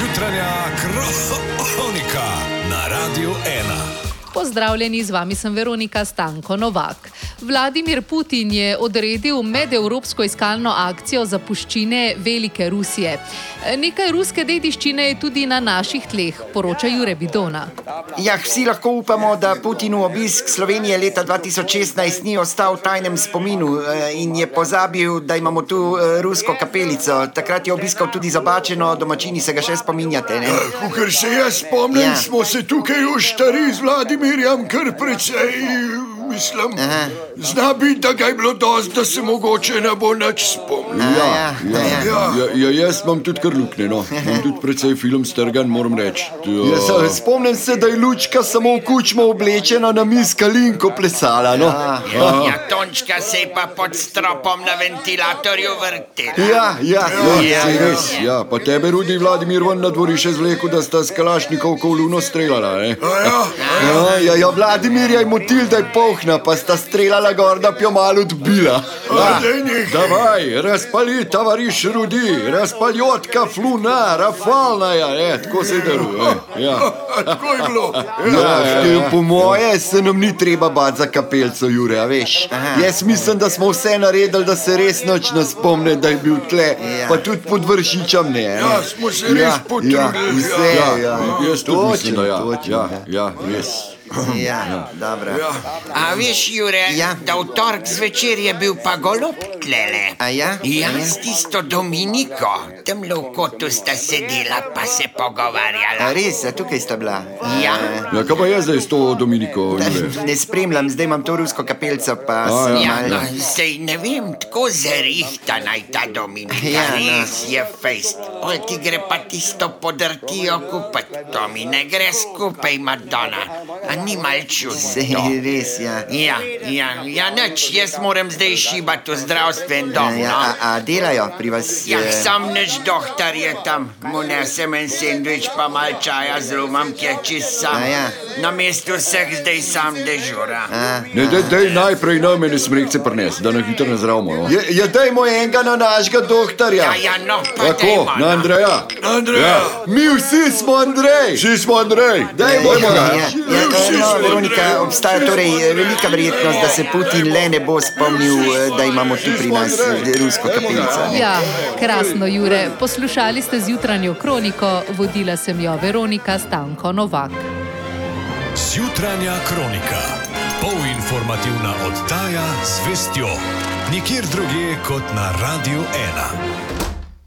jutranja kronika na Radiu 1. Pozdravljeni, z vami sem Veronika Stanko Novak. Vladimir Putin je odredil medevropsko iskalno akcijo zapuščine Velike Rusije. Nekaj ruske dediščine je tudi na naših tleh, poroča Jure Bidona. Ja, vsi lahko upamo, da Putinov obisk Slovenije leta 2016 ni ostal v tajnem spominu eh, in je pozabil, da imamo tu eh, rusko kapelico. Takrat je obiskal tudi zabačeno, domačini se ga še spominjate. Ne? Ker se jaz spomnim, Ja. ja. smo se tukaj v stari z Vladimirjem kar precej, mislim, Aha. zna biti, da ga je bilo dosti, da se mogoče ne bo nič spomnil. Ja, ja, ja. Ja, ja, jaz imam tudi kar luknje, no. imam tudi precej film strgan, moram reči. Ja. Spomnim se, da je lučka samo v kučmo oblečena na miska linko plesala. No. Ja, Tončka se je pa pod stropom na ventilatorju vrtela. Ja, ja, Ja, saj res, ja, pa tebe, Rudi Vladimir, ven na dvorišče zvleko, da sta s kalašnikov koluno streljala. ne? ja, ja, ja Vladimir je motil, da je pohna, pa sta streljala gor, da bi jo malo odbila. Ah, Ja, daj nehaj. Davaj, razpali, tovariš Rudi, razpaljotka, fluna, rafalna, ja, e, ne, tako se deluje. Ja. Tako je bilo. Ja, ja, po moje se nam ni treba bati za kapelco, Jure, a veš. Jaz mislim, da smo vse naredili, da se res noč ne spomne, da je bil tle, Ja. pa tudi pod vršičem ne. Ja, smo se res potrudili, Ja, vse, ja. ja, ja. Jaz tudi mislim, da ja. točen, Ja, ja. ja, res. ja, dobro. A veš, Jure, Ja. ja. da v torek zvečer je bil pa golob tlele. A ja? Ja, A ja? s tisto Dominiko, tam v kotu sta sedela pa se A pogovarjala. res, a tukaj sta bila. Ja. Ja, kaj pa je zdaj s to Dominiko? Jure? Eh, Ne spremljam, zdaj imam to rusko kapelico, pa A, sem ja. Ja, malo. no, sej ne vem, tako zerihta naj ta Dominika. Ja, Ja, no. Res je fejst. Oj, ti gre pa tisto podrtijo kupit. To mi ne gre skupaj, Madonna. A ni malču. Sej res, ja. Ja, ja, ja, neč, jaz moram zdaj šibati v zdravstven Ja, dom. ja, no. a, a delajo pri vas? Ja, eh, sam neč dohtar je tam, mu nesem en sendvič, pa mal čaja z rumom, ki je čist sam. A ja. Na mestu vseh zdaj sam dežura. a, Ne, dej, dej najprej nam ene smrekce prines, da na hitro ne zdravimo. No. Je, je dajmo enega na našega doktorja. Ja, ja, no, pa Tako, dajmo, na no. Andreja. Ja. Andreja. Mi vsi smo Andrej. Vsi smo Andrej, Dajmo dajmo ga. ga. Ja, ja, Vsi no, smo Veronika, Andreji. obstaja torej eh, velika verjetnost, da se Putin le ne bo spomnil, eh, da imamo tu pri nas eh, rusko kapelico. Ja, krasno, Jure. Poslušali ste z jutranjo kroniko, vodila sem jo Veronika Stanko Novak. Zjutranja kronika. Polinformativna oddaja z vestjo. Nikjer drugje kot na Radiu 1.